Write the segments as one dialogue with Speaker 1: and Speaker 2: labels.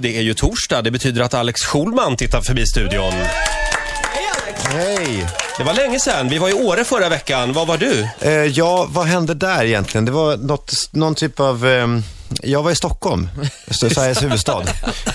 Speaker 1: det är ju torsdag. Det betyder att Alex Schulman tittar förbi studion.
Speaker 2: Hej!
Speaker 1: Det var länge sedan. Vi var i Åre förra veckan. Var var du?
Speaker 2: Eh, ja, vad hände där egentligen? Det var något, någon typ av... ehm, jag var i Stockholm, så- Sveriges huvudstad.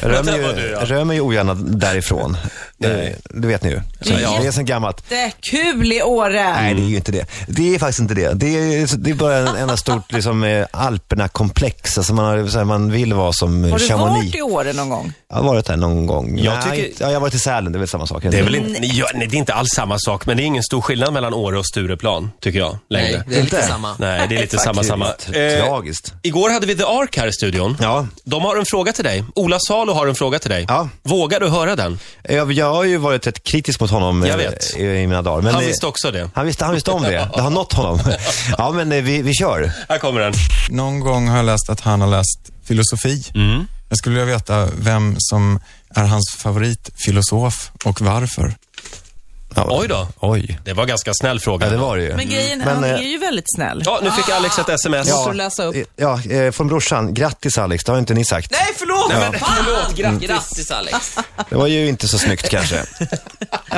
Speaker 2: Jag rör mig
Speaker 1: där var
Speaker 2: ju,
Speaker 1: du, ja.
Speaker 2: rör mig ju ogärna därifrån. Eh, det vet ni ju.
Speaker 1: Ja.
Speaker 2: Det är sen gammalt.
Speaker 3: Det är kul i Åre.
Speaker 2: Nej, det är ju inte det. Det är faktiskt inte det. Det är, det är bara en enda stort liksom, eh, Alperna-komplex. Alltså man, har, så här, man vill vara som eh,
Speaker 3: Har du
Speaker 2: Chamonix.
Speaker 3: varit i Åre någon gång?
Speaker 2: Jag har varit där någon gång.
Speaker 1: Jag
Speaker 2: Nej,
Speaker 1: tycker-
Speaker 2: inte- ja, jag har varit i Sälen, det är väl samma sak.
Speaker 1: Det är väl inte, ja, Mm, nej, det är inte alls samma sak, men det är ingen stor skillnad mellan Åre och Stureplan, tycker jag, längre.
Speaker 4: Nej, det är lite
Speaker 2: Inte?
Speaker 4: samma.
Speaker 1: Nej, det är lite samma, samma. Eh,
Speaker 2: Tragiskt. Tragiskt.
Speaker 1: igår hade vi The Ark här i studion.
Speaker 2: Ja,
Speaker 1: De har en fråga till dig. Ola Salo har en fråga till dig.
Speaker 2: Ja.
Speaker 1: Vågar du höra den?
Speaker 2: Jag, jag har ju varit rätt kritisk mot honom
Speaker 1: Jag
Speaker 2: eh,
Speaker 1: vet.
Speaker 2: I, i mina dagar. Men
Speaker 1: Han
Speaker 2: eh,
Speaker 1: visste också det.
Speaker 2: han, visste, han visste om det. Det har nått honom. Ja, men eh, vi, vi kör.
Speaker 1: Här kommer den.
Speaker 5: Någon gång har jag läst att han har läst filosofi. Jag skulle vilja veta vem som är hans favoritfilosof och varför.
Speaker 2: Ja,
Speaker 1: Oj då.
Speaker 2: Oj.
Speaker 1: Det var ganska snäll
Speaker 2: Ja,
Speaker 1: fråga.
Speaker 2: det var det ju.
Speaker 3: Men grejen,
Speaker 2: Men,
Speaker 3: han
Speaker 2: eh,
Speaker 3: är ju väldigt snäll.
Speaker 1: Ja, nu fick Alex ett sms.
Speaker 3: Ja. får du läsa upp.
Speaker 2: eh, Ja, eh, från brorsan. Grattis Alex, det har inte ni sagt.
Speaker 3: Nej, förlåt!
Speaker 1: Nej, men, förlåt,
Speaker 2: Mm.
Speaker 1: grattis.
Speaker 4: Grattis Alex.
Speaker 2: Det var ju inte så snyggt kanske.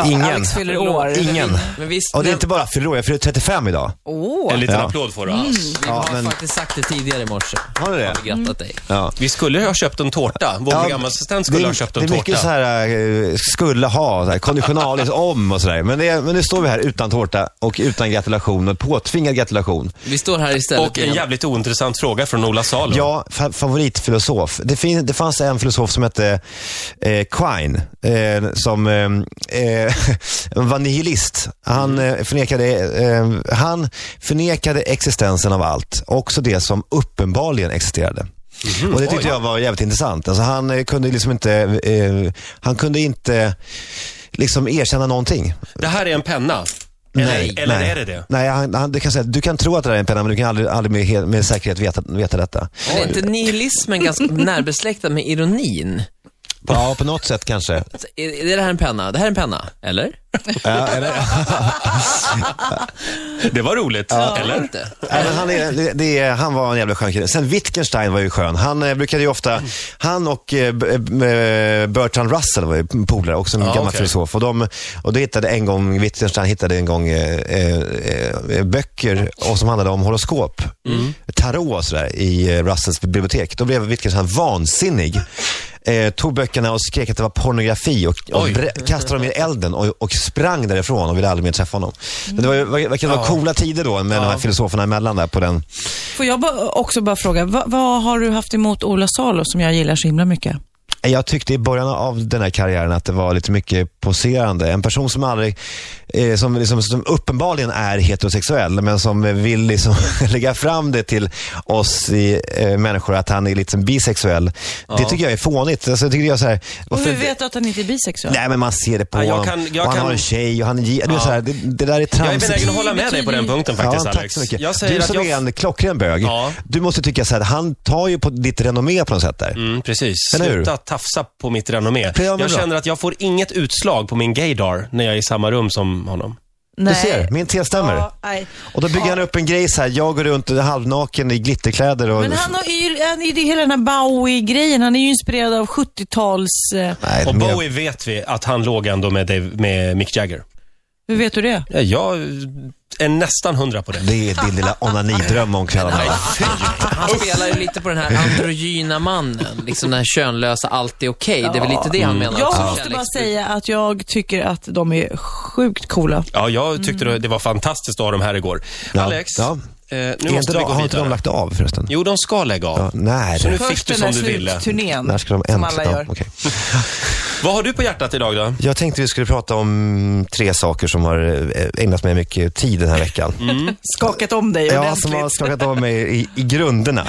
Speaker 2: Ingen.
Speaker 3: Alex fyller år.
Speaker 2: Ingen.
Speaker 4: Men visst,
Speaker 2: Och det är
Speaker 4: nej,
Speaker 2: inte bara fyller år, jag fyller 35 idag.
Speaker 3: Åh.
Speaker 1: En liten
Speaker 2: Ja.
Speaker 1: applåd får du. Alex.
Speaker 4: vi
Speaker 2: Mm. Ja,
Speaker 4: har
Speaker 2: men-
Speaker 4: faktiskt sagt det tidigare i morse.
Speaker 2: Har du det?
Speaker 4: Har vi grattat dig.
Speaker 2: Ja.
Speaker 1: Vi skulle ju ha köpt en tårta. Vår
Speaker 2: Ja,
Speaker 1: programassistent skulle
Speaker 2: det är-
Speaker 1: ha köpt en
Speaker 2: Det är
Speaker 1: tårta.
Speaker 2: mycket så här, eh, skulle ha, så här, konditionalis om och sådär. Men, det är- men nu står vi här utan tårta och utan gratulation och påtvingad gratulation.
Speaker 4: Vi står här istället
Speaker 1: Och en jävligt ointressant fråga från Ola Salo.
Speaker 2: Ja, fa- favoritfilosof. Det, fin- det fanns en filosof som hette eh, Quine, eh, som eh, eh, var nihilist. Han, eh, förnekade, eh, han förnekade existensen av allt, också det som uppenbarligen existerade. Och det tyckte jag var jävligt intressant. Alltså han eh, kunde liksom inte, eh, han kunde inte liksom erkänna någonting.
Speaker 1: Det här är en penna. Eller, eller är det det?
Speaker 2: Nej, han, han, det kan jag säga, du kan tro att det där är en penna, men du kan aldrig, aldrig med, hel- med säkerhet veta, veta detta.
Speaker 4: Men är inte nihilismen ganska närbesläktad med ironin?
Speaker 2: Ja, på något sätt kanske.
Speaker 4: Så Är, är det här en penna? Det här är en penna, eller?
Speaker 1: Det var roligt. Eller?
Speaker 4: Inte.
Speaker 2: Nej, men han, är, det, det, är- han var en jävla skön kille. Sen Wittgenstein var ju skön. Han eh, brukade ju ofta,
Speaker 1: Mm.
Speaker 2: han och eh, B- eh, Bertrand Russell var ju polare, också en
Speaker 1: Ja,
Speaker 2: gammal
Speaker 1: okej.
Speaker 2: filosof. Och, de, och det hittade en gång, Wittgenstein hittade en gång eh, eh, eh, böcker och som handlade om horoskop. Tarot och sådär i eh, Russells bibliotek. Då blev Wittgenstein vansinnig. Eh, tog böckerna och skrek att det var pornografi och, och
Speaker 1: Oj.
Speaker 2: brä- kastade dem i elden och, och sprang därifrån och ville aldrig mer träffa honom. Men det var ju, verkar verkar vara coola tider då med de här filosoferna emellan där på den.
Speaker 3: Får jag bara, också bara fråga, vad, vad har du haft emot Ola Salo som jag gillar så himla mycket?
Speaker 2: Jag tyckte i början av den här karriären att det var lite mycket poserande. En person som aldrig, eh, som, liksom, som uppenbarligen är heterosexuell, men som eh, vill liksom lägga fram det till oss i, eh, människor att han är liksom bisexuell. Det tycker jag är fånigt. Alltså, jag tycker jag så här,
Speaker 3: Och
Speaker 2: varför-
Speaker 3: hur vet du att han inte är bisexuell?
Speaker 2: Nej men man ser det på
Speaker 1: Ja, jag
Speaker 2: honom.
Speaker 1: kan- jag
Speaker 2: och han
Speaker 1: kan-
Speaker 2: har en tjej och han är gi- du vet, så här, det, det där är
Speaker 1: Jag är
Speaker 2: tramsigt.
Speaker 1: benägen att hålla med dig på den punkten faktiskt,
Speaker 2: ja, tack
Speaker 1: Alex.
Speaker 2: så mycket.
Speaker 1: Jag säger
Speaker 2: du
Speaker 1: att
Speaker 2: som
Speaker 1: jag...
Speaker 2: är en klockren bög,
Speaker 1: Ja.
Speaker 2: du måste tycka så här, han tar ju på ditt renommé på något sätt där.
Speaker 1: Mm, precis.
Speaker 2: Eller hur?
Speaker 1: Sluta tafsa på mitt renommé.
Speaker 2: men
Speaker 1: Jag
Speaker 2: bra.
Speaker 1: känner att jag får inget utslag på min gaydar när jag är i samma rum som honom.
Speaker 2: Du ser, min te stämmer.
Speaker 3: Ja, nej.
Speaker 2: Och då bygger han upp en grej så här, jag går runt halvnaken i glitterkläder och...
Speaker 3: Men han har ju, han, är ju hela den här Bowie-grejen, han är ju inspirerad av 70-tals... Eh,
Speaker 2: Nej,
Speaker 1: Och
Speaker 2: men jag-
Speaker 1: Bowie vet vi att han låg ändå med, Dave, med Mick Jagger.
Speaker 3: hur vet du det?
Speaker 1: Ja, Jag är nästan hundra på det.
Speaker 2: Det är din lilla onanidröm om kvällarna.
Speaker 4: Han spelar ju lite på den här androgyna mannen, liksom den här könlösa, allt är okej. Det är väl lite det han
Speaker 2: Mm.
Speaker 4: menar
Speaker 1: alltså,
Speaker 4: också,
Speaker 3: Jag måste bara
Speaker 4: kärleks-
Speaker 3: säga att jag tycker att de är sjukt coola.
Speaker 1: Ja, jag tyckte det- det var fantastiskt att ha dem här igår.
Speaker 2: Mm. Ja.
Speaker 1: Alex,
Speaker 2: Ja.
Speaker 1: Eh, nu
Speaker 2: Är inte
Speaker 1: måste vi
Speaker 2: de,
Speaker 1: gå
Speaker 2: har inte de
Speaker 1: vidare.
Speaker 2: lagt av förresten?
Speaker 1: Jo, de ska lägga av.
Speaker 2: Ja, när?
Speaker 1: Så nu fick
Speaker 3: Först
Speaker 1: du
Speaker 3: den
Speaker 1: som
Speaker 3: här
Speaker 1: du ville.
Speaker 3: slutturnén,
Speaker 2: När ska de
Speaker 3: som
Speaker 2: äntligen...
Speaker 3: alla gör.
Speaker 2: Ja, okej.
Speaker 1: Vad har du på hjärtat idag då?
Speaker 2: Jag tänkte vi skulle prata om tre saker som har eh, ägnat mig mycket tid den här veckan.
Speaker 1: Mm.
Speaker 3: Skakat om dig
Speaker 2: Ja,
Speaker 3: ordentligt.
Speaker 2: som har skakat av mig i, i grunderna.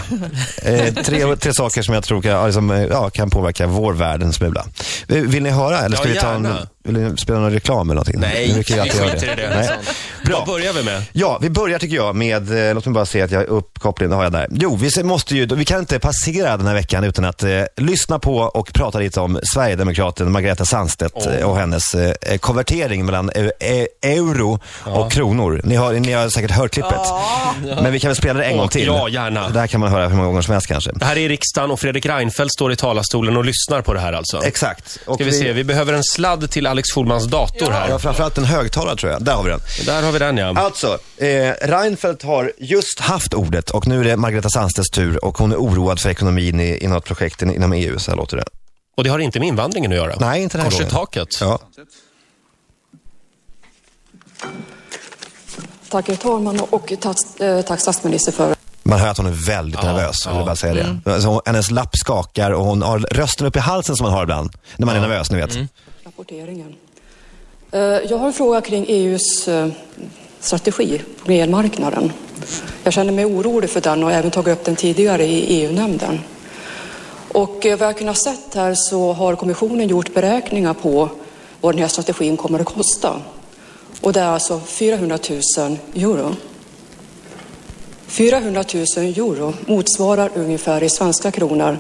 Speaker 2: Eh, tre, tre saker som jag tror kan, ja, liksom, eh, ja, kan påverka vår värld en smula. Eh, Vill ni höra eller ska
Speaker 1: Ja,
Speaker 2: vi ta en,
Speaker 1: gärna.
Speaker 2: vill ni spela någon reklam eller någonting?
Speaker 1: Nej,
Speaker 2: Vi brukar ju
Speaker 1: vi
Speaker 2: alltid göra
Speaker 1: skiter i det. liksom.
Speaker 2: Nej.
Speaker 1: Vad
Speaker 2: Bra.
Speaker 1: börjar vi med?
Speaker 2: Ja, vi börjar tycker jag med, eh, låt mig bara se att jag har uppkopplingen, det har jag där. Jo, vi se- måste ju, vi kan inte passera den här veckan utan att eh, lyssna på och prata lite om Sverigedemokraterna feministen Margareta Sandstedt eh, och hennes eh, konvertering mellan eu- e- euro och kronor. Ni har, ni har säkert hört klippet. Men vi kan väl spela det en gång till?
Speaker 1: Ja, gärna.
Speaker 2: Det här kan man höra hur många gånger som helst kanske.
Speaker 1: Det här är i riksdagen och Fredrik Reinfeldt står i talarstolen och lyssnar på det här alltså.
Speaker 2: Exakt. Och
Speaker 1: Ska vi se, vi behöver en sladd till Alex Schulmans dator
Speaker 2: Ja,
Speaker 1: här.
Speaker 2: framförallt en högtalare tror jag. Där har vi den.
Speaker 1: Där har vi den ja.
Speaker 2: Alltså, eh, Reinfeldt har just haft ordet och nu är det Margareta Sandstedts tur och hon är oroad för ekonomin i, i något projekt in- inom EU. Så här låter det.
Speaker 1: Och det har inte med invandringen att göra.
Speaker 2: Nej, inte den här
Speaker 1: Kors i
Speaker 2: gången.
Speaker 1: taket.
Speaker 2: Ja.
Speaker 6: Tack herr talman och tack, eh, tack statsminister för
Speaker 2: Man hör att hon är väldigt nervös, jag vill bara säga det. Alltså, hon- hennes lapp skakar och hon har rösten upp i halsen som man har ibland när man är nervös, ni vet.
Speaker 6: rapporteringen. Eh, Jag har en fråga kring EUs eh, strategi på elmarknaden. Jag känner mig orolig för den och har även tagit upp den tidigare i EU-nämnden. Och eh, vad jag kunnat sett här så har kommissionen gjort beräkningar på vad den här strategin kommer att kosta. Och det är alltså 400 000 euro. 400 000 euro motsvarar ungefär i svenska kronor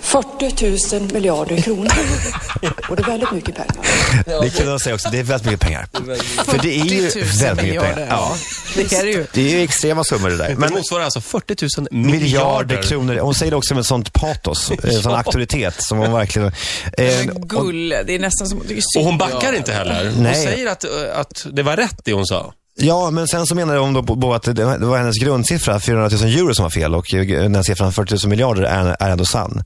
Speaker 6: 40 000 miljarder kronor. Och det är väldigt mycket pengar.
Speaker 2: Det kan jag säga också, det är väldigt mycket pengar. För det är ju
Speaker 3: 40 000
Speaker 2: väldigt mycket pengar.
Speaker 3: miljarder.
Speaker 2: Ja.
Speaker 3: Det är det ju.
Speaker 2: Det är ju extrema summor det där.
Speaker 1: Men det
Speaker 2: Men
Speaker 1: motsvarar alltså 40 000 miljarder,
Speaker 2: miljarder kronor, hon säger det också med sånt patos, eh, sån auktoritet som hon verkligen... Eh,
Speaker 3: Men Gull, det är nästan som man tycker
Speaker 1: Och
Speaker 3: synd
Speaker 1: hon
Speaker 3: om.
Speaker 1: backar inte heller. Hon
Speaker 2: Nej.
Speaker 1: säger att, eh, att det var rätt det hon sa.
Speaker 2: Ja, men sen så menade hon då på, på att det det var hennes grundsiffra, 400 000 euro, som var fel och eh, den här siffran 40 000 miljarder är, är ändå sann.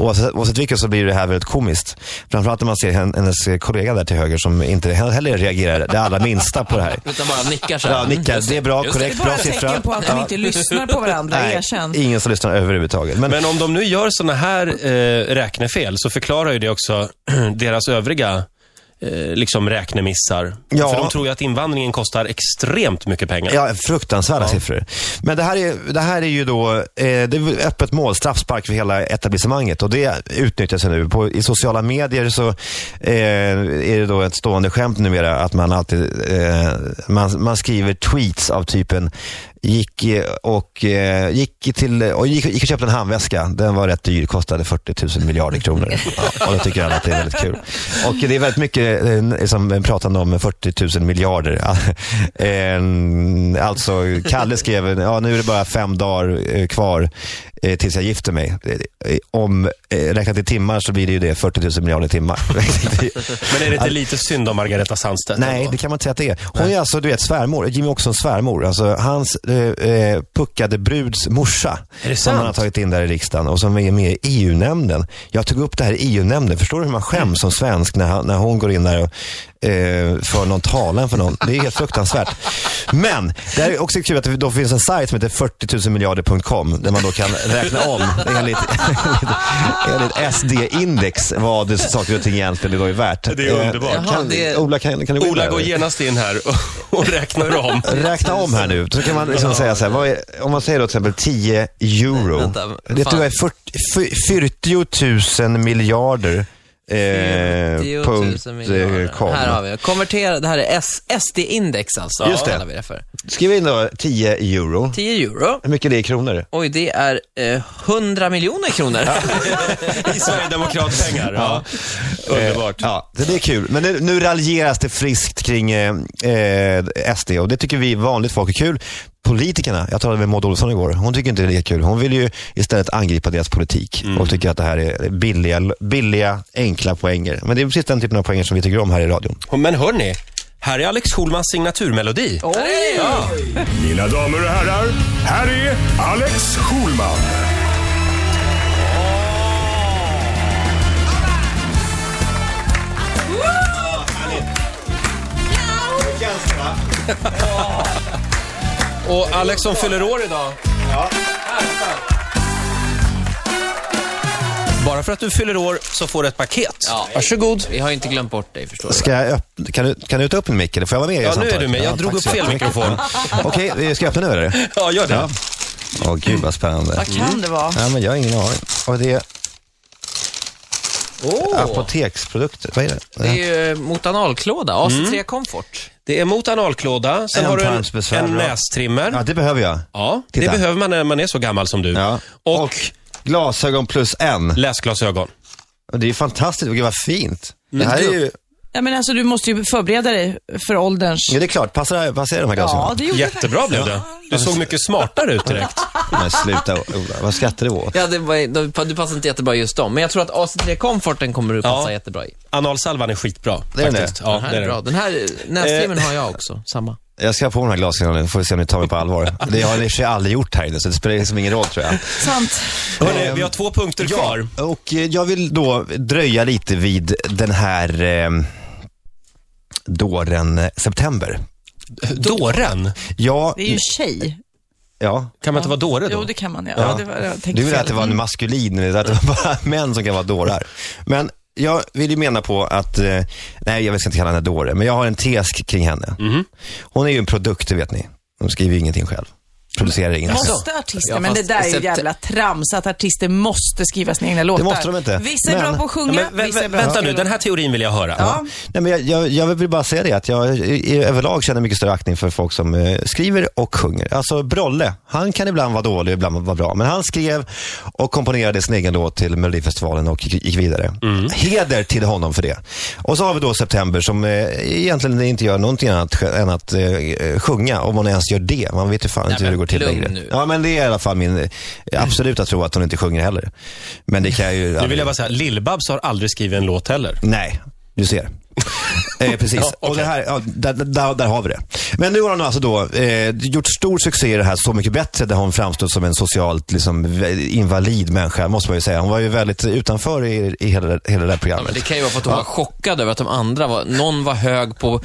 Speaker 2: Oavsett, oavsett vilket så blir det här väldigt komiskt. Framförallt när man ser hen- hennes kollega där till höger som inte he- heller reagerar det allra minsta på det här.
Speaker 4: Utan bara nickar så här.
Speaker 2: Ja, nickar.
Speaker 4: Just
Speaker 2: Det är bra,
Speaker 4: just
Speaker 3: Det är
Speaker 2: korrekt,
Speaker 3: bara
Speaker 2: bra
Speaker 3: ett
Speaker 2: siffra.
Speaker 3: tecken på att de
Speaker 2: Ja.
Speaker 3: inte lyssnar på varandra,
Speaker 2: Nej,
Speaker 3: erkänn.
Speaker 2: ingen som lyssnar överhuvudtaget. Men,
Speaker 1: Men om de nu gör sådana här eh, räknefel så förklarar ju det också deras övriga eh, liksom räknemissar.
Speaker 2: Ja.
Speaker 1: För de tror ju att invandringen kostar extremt mycket pengar.
Speaker 2: Ja, fruktansvärda siffror. Men det här är, det här är ju då eh, det är öppet mål, straffspark för hela etablissemanget och det utnyttjas ju nu. På, I sociala medier så eh, är det då ett stående skämt numera att man alltid eh, man, man skriver tweets av typen gick eh, och, eh, gick, till, och gick, gick och köpte en handväska. Den var rätt dyr, kostade 40 000 miljarder kronor. Ja, och då tycker alla att det är väldigt kul. Och det är väldigt mycket eh, som pratande om 40 000 miljarder. Eh, alltså, Kalle skrev, ja, nu är det bara fem dagar eh, kvar eh, tills jag gifter mig. Eh, Om eh, räknat i timmar så blir det ju det 40 000 miljarder timmar.
Speaker 1: Men är det inte lite synd om Margareta Sandstedt?
Speaker 2: Nej,
Speaker 1: ändå?
Speaker 2: det kan man inte säga att det är. Hon är alltså, du vet, svärmor. Jimmy Åkessons svärmor. Alltså hans eh, eh, puckade bruds morsa.
Speaker 1: Är det
Speaker 2: som man har
Speaker 1: sant?
Speaker 2: tagit in där i riksdagen och som är med i EU-nämnden. Jag tog upp det här i EU-nämnden. Förstår du hur man skäms som svensk när, han, när hon går in där och eh, för någon talan för någon? Det är helt fruktansvärt. Men det här är också kul att det då finns en sajt som heter 40 där man då kan räkna om enligt, enligt SD-index vad saker och ting egentligen då är värt.
Speaker 1: Det är underbart.
Speaker 2: Eh,
Speaker 4: Jaha,
Speaker 2: Kan,
Speaker 4: det-
Speaker 2: Ola, kan, kan du gå in
Speaker 1: Ola
Speaker 2: där?
Speaker 1: går genast in här och, och räknar om.
Speaker 2: Räkna om här nu, så kan man liksom säga så här, vad är, om man säger då till exempel 10 euro.
Speaker 4: vänta,
Speaker 2: det tror jag är 40, 40 000 miljarder. Eh,
Speaker 4: 10 000
Speaker 2: punkt, eh,
Speaker 4: Mm. miljarder.
Speaker 2: com.
Speaker 4: Här har vi det. Konvertera, det här är S- SD-index alltså.
Speaker 2: Just det.
Speaker 4: Kallar vi det för.
Speaker 2: Skriv in då 10 euro.
Speaker 4: 10 euro.
Speaker 2: Hur mycket det är i kronor?
Speaker 4: Oj, det är eh, 100 miljoner kronor.
Speaker 1: I Sverigedemokratpengar. Ja. Underbart.
Speaker 2: Eh, ja, det det är kul. Men nu, nu raljeras det friskt kring eh, eh, SD och det tycker vi vanligt folk är kul. Politikerna, jag talade med Maud Olofsson igår, hon tycker inte det är kul. Hon vill ju istället angripa deras politik
Speaker 1: Mm.
Speaker 2: och tycker att det här är billiga, billiga, enkla poänger. Men det är precis den typen av poänger som vi tycker om här i radion.
Speaker 1: Men hörni, här är Alex Schulmans signaturmelodi.
Speaker 7: Mina damer och herrar, här är Alex Schulman.
Speaker 1: Och Alex som fyller år idag. Bara för att du fyller år så får du ett paket.
Speaker 4: Ja.
Speaker 1: Varsågod.
Speaker 4: Vi har ju inte glömt bort dig förstår du.
Speaker 2: Ska jag öppna, kan, du, kan du ta upp en mick eller får jag vara med i
Speaker 1: Ja, nu
Speaker 2: samtalet?
Speaker 1: är du med. Jag drog
Speaker 2: tack
Speaker 1: upp
Speaker 2: så
Speaker 1: fel
Speaker 2: jättemycket.
Speaker 1: mikrofon.
Speaker 2: Ja. Okej, eh, ska jag öppna nu eller?
Speaker 1: Ja, gör det.
Speaker 2: Ja. Åh gud vad spännande.
Speaker 3: Vad kan det vara?
Speaker 2: Ja, men jag har ingen aning. Och det är
Speaker 4: Åh,
Speaker 2: apoteksprodukter. Vad är det?
Speaker 4: det är ju eh, mot analklåda. AC3 Comfort.
Speaker 1: Det är mot analklåda. Sen har du en,
Speaker 2: Ändtarmsbesvär,
Speaker 1: en
Speaker 2: bra.
Speaker 1: nästrimmer.
Speaker 2: Ja, det behöver jag.
Speaker 1: Ja,
Speaker 2: Titta.
Speaker 1: det behöver man när man är så gammal som du.
Speaker 2: Ja.
Speaker 1: Och,
Speaker 2: glasögon plus en.
Speaker 1: läsglasögon.
Speaker 2: Och Det är ju fantastiskt, gud vad fint. Mm. Det här är ju,
Speaker 3: Ja, men alltså, du måste ju förbereda dig för ålderns...
Speaker 2: ja, det är klart, passar, passar de här
Speaker 3: Ja,
Speaker 2: glasögonen?
Speaker 3: det gjorde
Speaker 1: Jättebra blev det. Du såg mycket smartare ut direkt.
Speaker 2: Men sluta Ola, vad skrattar du åt?
Speaker 4: Ja, det var, de- du passar inte jättebra i just dem. Men jag tror att AC3 Comforten kommer du passa
Speaker 1: Ja.
Speaker 4: jättebra i.
Speaker 1: Analsalvan är skitbra.
Speaker 2: Det är den
Speaker 1: faktiskt.
Speaker 2: det.
Speaker 1: Ja,
Speaker 4: Den här
Speaker 1: det
Speaker 4: är, Eh.
Speaker 1: är den.
Speaker 4: bra. Den här näslimmen har jag också. Samma.
Speaker 2: Jag ska ha på mig de här glasögonen nu, får vi se om ni tar mig på allvar. Det har ni i och för sig aldrig gjort här inne, så det spelar liksom ingen roll tror jag.
Speaker 3: sant.
Speaker 1: Hörrni, vi har två punkter kvar.
Speaker 2: Och eh, jag vill då dröja lite vid den här eh, dåren eh, September.
Speaker 1: Dåren?
Speaker 2: Ja,
Speaker 3: Det
Speaker 2: Mm.
Speaker 3: är ju en tjej.
Speaker 2: ja.
Speaker 1: Kan man inte vara dåre då?
Speaker 3: Jo, det kan man ja.
Speaker 2: Ja.
Speaker 3: ja. det var, jag tänkte
Speaker 2: Du vill
Speaker 3: fel.
Speaker 2: att det var en maskulin, att det var bara män som kan vara dårar. Men jag vill ju mena på att, eh, nej jag ska inte kalla henne dåre, men jag har en tes kring henne. Hon är ju en produkt, det vet ni. Hon skriver ju ingenting själv. Producerar ingenting själv.
Speaker 3: Måste artister,
Speaker 4: Ja,
Speaker 3: men det
Speaker 4: fast
Speaker 3: där är ju
Speaker 4: sept-
Speaker 3: jävla trams att artister måste skriva sina egna låtar.
Speaker 2: måste de inte.
Speaker 3: Vissa är
Speaker 2: Men-
Speaker 3: bra på att
Speaker 1: Ja,
Speaker 3: sjunga,
Speaker 1: men, vä-
Speaker 3: vissa
Speaker 1: vä-
Speaker 3: är bra
Speaker 1: vänta
Speaker 3: på
Speaker 1: nu,
Speaker 3: att
Speaker 1: den här teorin vill jag höra.
Speaker 3: Ja.
Speaker 2: Nej, men jag, jag, jag vill bara säga det att jag i, i- överlag känner mycket större aktning för folk som eh, skriver och sjunger. Alltså Brolle, han kan ibland vara dålig och ibland vara bra. Men han skrev och komponerade sin egen låt till Melodifestivalen och gick, gick vidare. Heder till honom för det. Och så har vi då September som eh, egentligen inte gör någonting annat sj- än att eh, sjunga. Om hon ens gör det. Man vet ju fan inte hur det går
Speaker 4: men
Speaker 2: till
Speaker 4: lugn
Speaker 2: längre.
Speaker 4: nu.
Speaker 2: Ja, men det är i alla fall min eh, absoluta tro att hon inte sjunger heller. Men det kan jag ju...
Speaker 1: Nu vill jag bara säga, Lill-Babs har aldrig skrivit en låt heller.
Speaker 2: Nej, du ser. eh, precis,
Speaker 1: Ja,
Speaker 2: och det här, ja, där, där, där har vi det. Men nu har hon alltså då eh, gjort stor succé i det här Så mycket bättre, där hon framstått som en socialt liksom, vä- invalid människa, måste man ju säga. Hon var ju väldigt utanför i, i hela, det- hela det här
Speaker 4: Ja, men
Speaker 2: programmet.
Speaker 4: det kan ju vara för att hon var chockad över att de andra var, någon var hög på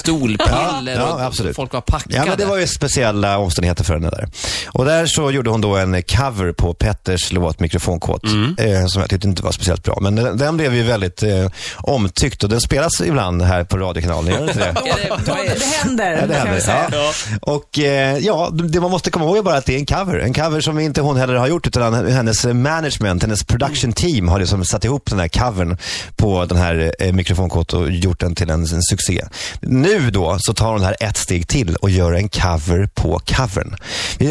Speaker 4: stolpiller
Speaker 2: Ja,
Speaker 4: och
Speaker 2: ja, absolut.
Speaker 4: folk var packade.
Speaker 2: Ja, men det var ju speciella omständigheter för henne där. Och där så gjorde hon då en cover på Petters låt Mikrofonkåt,
Speaker 4: Mm.
Speaker 2: eh, som jag tyckte inte var speciellt bra. Men den, den blev ju väldigt eh, omtyckt och den spelas ibland här på radiokanalen, gör den inte det?
Speaker 4: Är det, vad
Speaker 3: sjunga.
Speaker 4: är,
Speaker 3: Det händer,
Speaker 2: Ja, det
Speaker 3: kan jag
Speaker 2: händer.
Speaker 3: säga.
Speaker 2: Ja. Och eh, ja, det man måste komma ihåg är bara att det är en cover. En cover som inte hon heller har gjort, utan hennes management, hennes production team har liksom satt ihop den här covern på den här eh, mikrofonkort och gjort den till en, en succé. Nu då så tar hon det här ett steg till och gör en cover på covern.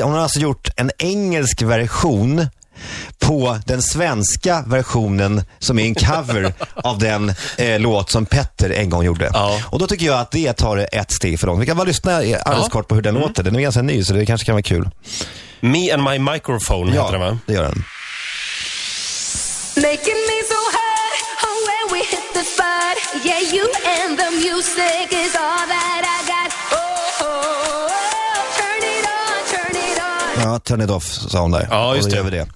Speaker 2: Hon har alltså gjort en engelsk version på den svenska versionen som är en cover av den eh, låt som Petter en gång gjorde.
Speaker 1: Ja.
Speaker 2: Och då tycker jag att det tar det ett steg för långt. Vi kan bara lyssna i- alldeles kort på hur
Speaker 1: Mm.
Speaker 2: den låter. Den är ganska ny så det kanske kan vara kul.
Speaker 1: Me and my microphone heter den va?
Speaker 2: det gör den.
Speaker 8: Making me so hot on when we hit the spot. Yeah, you and the music is all that I got. Oh, oh, oh. turn it on, turn it on.
Speaker 2: Ja, turn it off sa hon där.
Speaker 1: Ja, just
Speaker 2: Och då
Speaker 1: det.
Speaker 2: Gör vi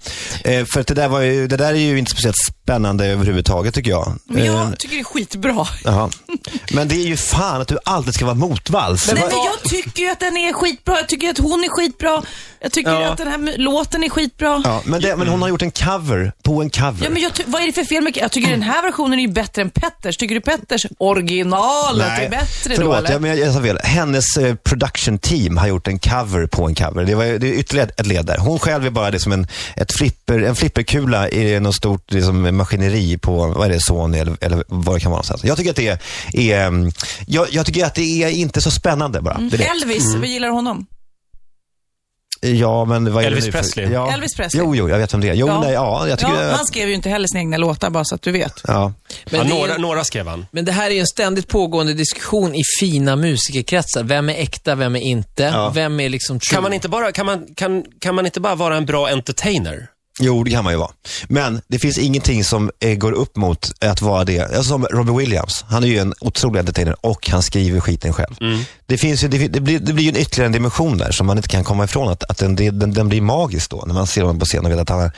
Speaker 2: det. Eh, för att det där, var ju, det där är ju inte speciellt spännande överhuvudtaget tycker jag.
Speaker 3: Men
Speaker 2: Eh,
Speaker 3: jag tycker det är skitbra.
Speaker 2: jaha. Men det är ju fan att du alltid ska vara motvalls.
Speaker 3: Nej,
Speaker 2: Vad-
Speaker 3: men jag tycker ju att den är skitbra. Jag tycker att hon är skitbra. Jag tycker
Speaker 1: Ja.
Speaker 3: att den här mu- låten är skitbra. Ja.
Speaker 2: Ja, men, det, men hon har gjort en cover på en cover.
Speaker 3: men jag ty- vad är det för fel med Jag tycker den här versionen är ju bättre än Petters. Tycker du Petters originalet är bättre
Speaker 2: förlåt,
Speaker 3: då eller?
Speaker 2: Ja, men jag, jag sa fel. Hennes eh, production team har gjort en cover på en cover. Det, var, ju- det är ytterligare ett led där. Hon själv är bara det som en, ett flipper, en flipperkula i något stort liksom, maskineri på, vad är det, Sony eller, eller vad det kan vara någonstans. Jag tycker att det är, mm, jag, jag tycker att det är inte så spännande bara. Det Mm. är det.
Speaker 3: Mm. Elvis, vi gillar honom.
Speaker 2: Ja, men vad är
Speaker 1: Elvis
Speaker 2: det nu för-
Speaker 1: Presley.
Speaker 2: Ja.
Speaker 3: Elvis Presley.
Speaker 2: Jo, jo, jag vet om det är. Jo,
Speaker 3: Ja.
Speaker 2: nej, ja, jag tycker
Speaker 3: Ja,
Speaker 2: att,
Speaker 3: han skrev ju inte heller sina egna låtar bara så att du vet.
Speaker 2: ja.
Speaker 1: Ja,
Speaker 4: men, det är
Speaker 1: några,
Speaker 4: ju,
Speaker 1: några skrev han.
Speaker 4: men det här är ju en ständigt pågående diskussion i fina musikerkretsar. Vem är äkta, vem är inte? Vem är liksom true?
Speaker 1: Kan man, inte bara, kan, man, kan, kan man inte bara vara en bra entertainer?
Speaker 2: Jo, det kan man ju vara. Men det finns ingenting som eh, går upp mot att vara det. Alltså, som Robbie Williams, han är ju en otrolig entertainer och han skriver skiten själv. Det, finns ju, det, det, blir, det blir ju en ytterligare en dimension där som man inte kan komma ifrån. Att, att den, det- den, den blir magisk då, när man ser honom på scen och vet att han har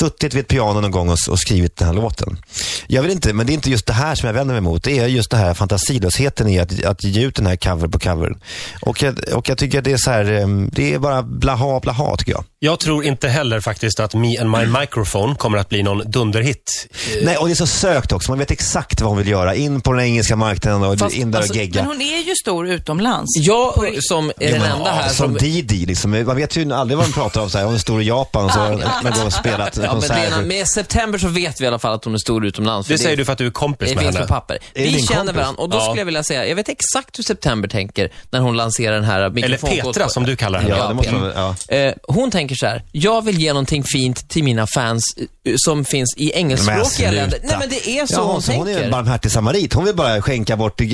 Speaker 2: suttit vid ett piano någon gång och, s- och skrivit den här låten. Jag vill inte, men det är inte just det här som jag vänder mig mot. Det är just det här fantasilösheten i att, att ge ut den här cover på cover. Och jag, och jag tycker att det är så här, eh, det är bara blaha blaha tycker jag.
Speaker 1: Jag tror inte heller faktiskt att Me and my microphone kommer att bli någon dunderhit.
Speaker 4: Eh,
Speaker 2: Nej, och det är så sökt också. Man vet exakt vad hon vill göra. In på den engelska marknaden och
Speaker 4: Fast,
Speaker 2: in där
Speaker 4: alltså,
Speaker 2: och
Speaker 3: Men
Speaker 2: gegga.
Speaker 3: hon är ju stor utomlands.
Speaker 4: Jag som är
Speaker 2: Jo,
Speaker 4: den
Speaker 2: men,
Speaker 4: enda här
Speaker 2: ja, som
Speaker 4: som...
Speaker 2: Didi, liksom. man vet ju aldrig vad hon pratar om. Så här. Hon är stor i Japan och så har hon någon gång spelat
Speaker 4: Ja, men
Speaker 2: konserter.
Speaker 4: Lena, med September så vet vi i alla fall att hon är stor utomlands. för
Speaker 1: Det säger du för att du är kompis
Speaker 4: Det
Speaker 1: med
Speaker 4: finns
Speaker 1: henne.
Speaker 4: på papper.
Speaker 2: det
Speaker 4: Vi
Speaker 2: din
Speaker 4: känner
Speaker 2: kompis?
Speaker 4: varandra och då
Speaker 1: Ja.
Speaker 4: skulle jag vilja säga, jag vet exakt hur September tänker när hon lanserar den här
Speaker 1: Eller
Speaker 4: mikrofonkoden.
Speaker 1: Petra som du kallar henne.
Speaker 2: Ja, det måste
Speaker 4: Petra.
Speaker 2: man- ja.
Speaker 4: Eh, Hon tänker så här, jag vill ge någonting fint till mina fans eh, som finns i engelskspråkiga
Speaker 2: Men
Speaker 4: länder.
Speaker 2: sluta.
Speaker 4: Nej men det är så
Speaker 2: ja,
Speaker 4: hon
Speaker 2: så hon är
Speaker 4: tänker.
Speaker 2: en barmhärtig samarit. Hon vill bara skänka bort eh,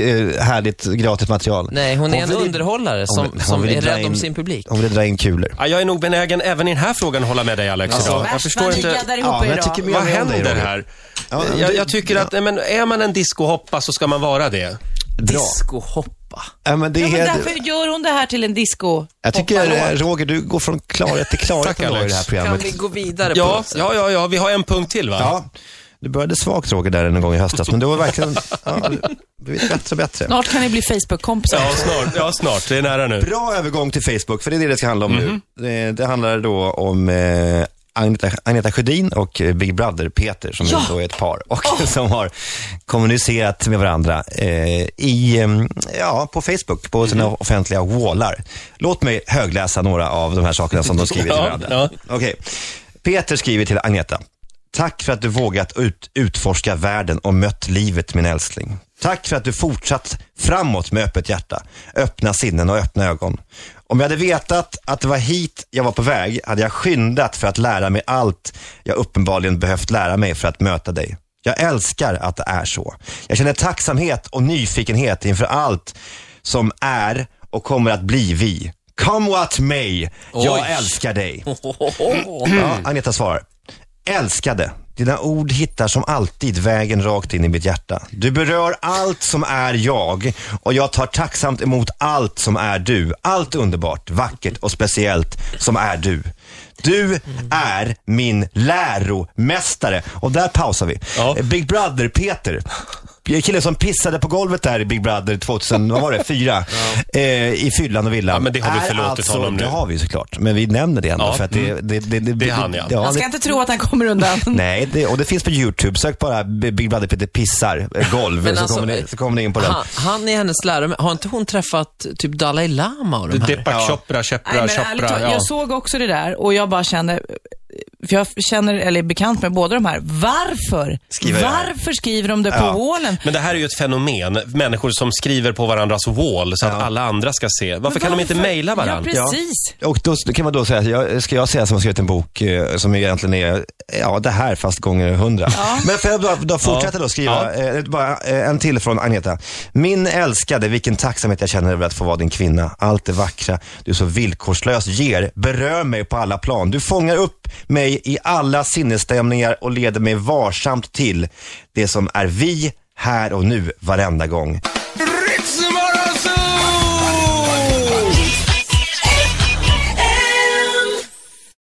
Speaker 2: härligt gratis material.
Speaker 4: Nej, hon är en
Speaker 2: vill ju-
Speaker 4: underhållare som,
Speaker 2: hon vill- hon
Speaker 4: som
Speaker 2: vill
Speaker 4: är
Speaker 2: dra
Speaker 4: rädd om
Speaker 2: in-
Speaker 4: sin publik.
Speaker 2: Hon vill dra in kulor.
Speaker 1: Ja, jag är nog benägen även i den här frågan att hålla med dig Alex.
Speaker 4: Alltså,
Speaker 1: idag. jag
Speaker 3: Värst vad
Speaker 1: förstår
Speaker 3: ni
Speaker 1: inte.
Speaker 3: gaddar ihop
Speaker 2: Ja, men
Speaker 3: er
Speaker 2: jag
Speaker 3: idag.
Speaker 2: tycker mer
Speaker 1: Vad
Speaker 2: om dig,
Speaker 1: händer
Speaker 2: Roger.
Speaker 1: här?
Speaker 2: Ja,
Speaker 1: jag,
Speaker 2: du-
Speaker 1: jag tycker att, nej, men är man en discohoppa så ska man vara det.
Speaker 2: Bra.
Speaker 4: Discohoppa.
Speaker 2: Ja, men det
Speaker 3: Ja,
Speaker 2: är,
Speaker 3: men därför gör hon det här till en disco.
Speaker 2: jag tycker
Speaker 3: Hoppa
Speaker 2: eh,
Speaker 3: låt.
Speaker 2: Roger, du går från klarhet till klarhet
Speaker 1: Tack,
Speaker 2: ändå i
Speaker 1: Alex.
Speaker 2: det här
Speaker 4: Kan
Speaker 2: programmet.
Speaker 4: vi gå vidare på
Speaker 1: Ja,
Speaker 4: något sätt?
Speaker 1: ja, ja, ja, vi har en punkt till va?
Speaker 2: Ja, du började svagt Roger där en gång i höstas, men du har verkligen ja, du har blivit bättre och bättre.
Speaker 3: Snart kan ni bli Facebook-kompisar.
Speaker 1: Ja, snart. Ja, snart. Det är nära nu.
Speaker 2: Bra övergång till Facebook, för det är det det ska handla om nu. Det, det handlar då om eh, Agneta, Agneta Sjödin och eh, Big Brother-Peter, som
Speaker 3: Ja.
Speaker 2: då är ett par och som har kommunicerat med varandra eh, i, eh, ja, på Facebook, på sina offentliga wallar. Låt mig högläsa några av de här sakerna som de skriver till
Speaker 1: Ja,
Speaker 2: varandra.
Speaker 1: ja.
Speaker 2: Okej. Peter skriver till Agneta. Tack för att du vågat ut, utforska världen och mött livet min älskling. Tack för att du fortsatt framåt med öppet hjärta, öppna sinnen och öppna ögon. Om jag hade vetat att det var hit jag var på väg hade jag skyndat för att lära mig allt jag uppenbarligen behövt lära mig för att möta dig. Jag älskar att det är så. Jag känner tacksamhet och nyfikenhet inför allt som är och kommer att bli vi. Come what may, jag
Speaker 4: Oj.
Speaker 2: älskar dig. Ja, Agneta svarar. Älskade, dina ord hittar som alltid vägen rakt in i mitt hjärta. Du berör allt som är jag och jag tar tacksamt emot allt som är du. Allt underbart, vackert och speciellt som är du. Du är min läromästare. Och där pausar vi. Eh,
Speaker 1: Ja.
Speaker 2: Big Brother-Peter. Killen som pissade på golvet där i Big Brother 2000, vad var det, fyra? Eh, I fyllan och villan.
Speaker 1: Ja, men det har vi
Speaker 2: Är
Speaker 1: förlåtit honom nu.
Speaker 2: Det har vi såklart, men vi nämner det ändå.
Speaker 1: Ja. Mm.
Speaker 2: För att det, det, det, det,
Speaker 1: Det är han, ja.
Speaker 3: Han
Speaker 4: Alltså,
Speaker 3: ska
Speaker 2: det-
Speaker 3: inte tro att han kommer undan.
Speaker 2: Nej, det, och det finns på YouTube. Sök bara B- Big Brother Peter pissar eh, golv
Speaker 4: Men
Speaker 2: så,
Speaker 4: alltså,
Speaker 2: kommer ni, så kommer ni in på den.
Speaker 4: Han, han är hennes lärare, har inte hon träffat typ Dalai Lama och de här?
Speaker 1: Deepak Chopra, Chopra,
Speaker 3: Nej, men ärligt
Speaker 1: Chopra.
Speaker 3: talat,
Speaker 1: Ja.
Speaker 3: Jag såg också det där och jag bara känner, för jag känner, eller är bekant med båda de här. Varför?
Speaker 2: Skriver det här.
Speaker 3: Varför skriver de det på
Speaker 2: Ja.
Speaker 3: wallen?
Speaker 1: Men det här är ju ett fenomen. Människor som skriver på varandras wall så att alla andra ska se. Varför kan de inte mejla varandra?
Speaker 3: Ja, precis.
Speaker 2: Och då, då kan man då säga, jag, ska jag säga som har skrivit en bok eh, som egentligen är, ja det här fast gånger hundra. Men får jag då, då fortsätta då skriva, eh, bara, eh, en till från Agneta. Min älskade, vilken tacksamhet jag känner över att få vara din kvinna. Allt det vackra du så villkorslöst ger berör mig på alla plan. Du fångar upp mig i alla sinnesstämningar och leder mig varsamt till det som är vi här och nu varenda gång.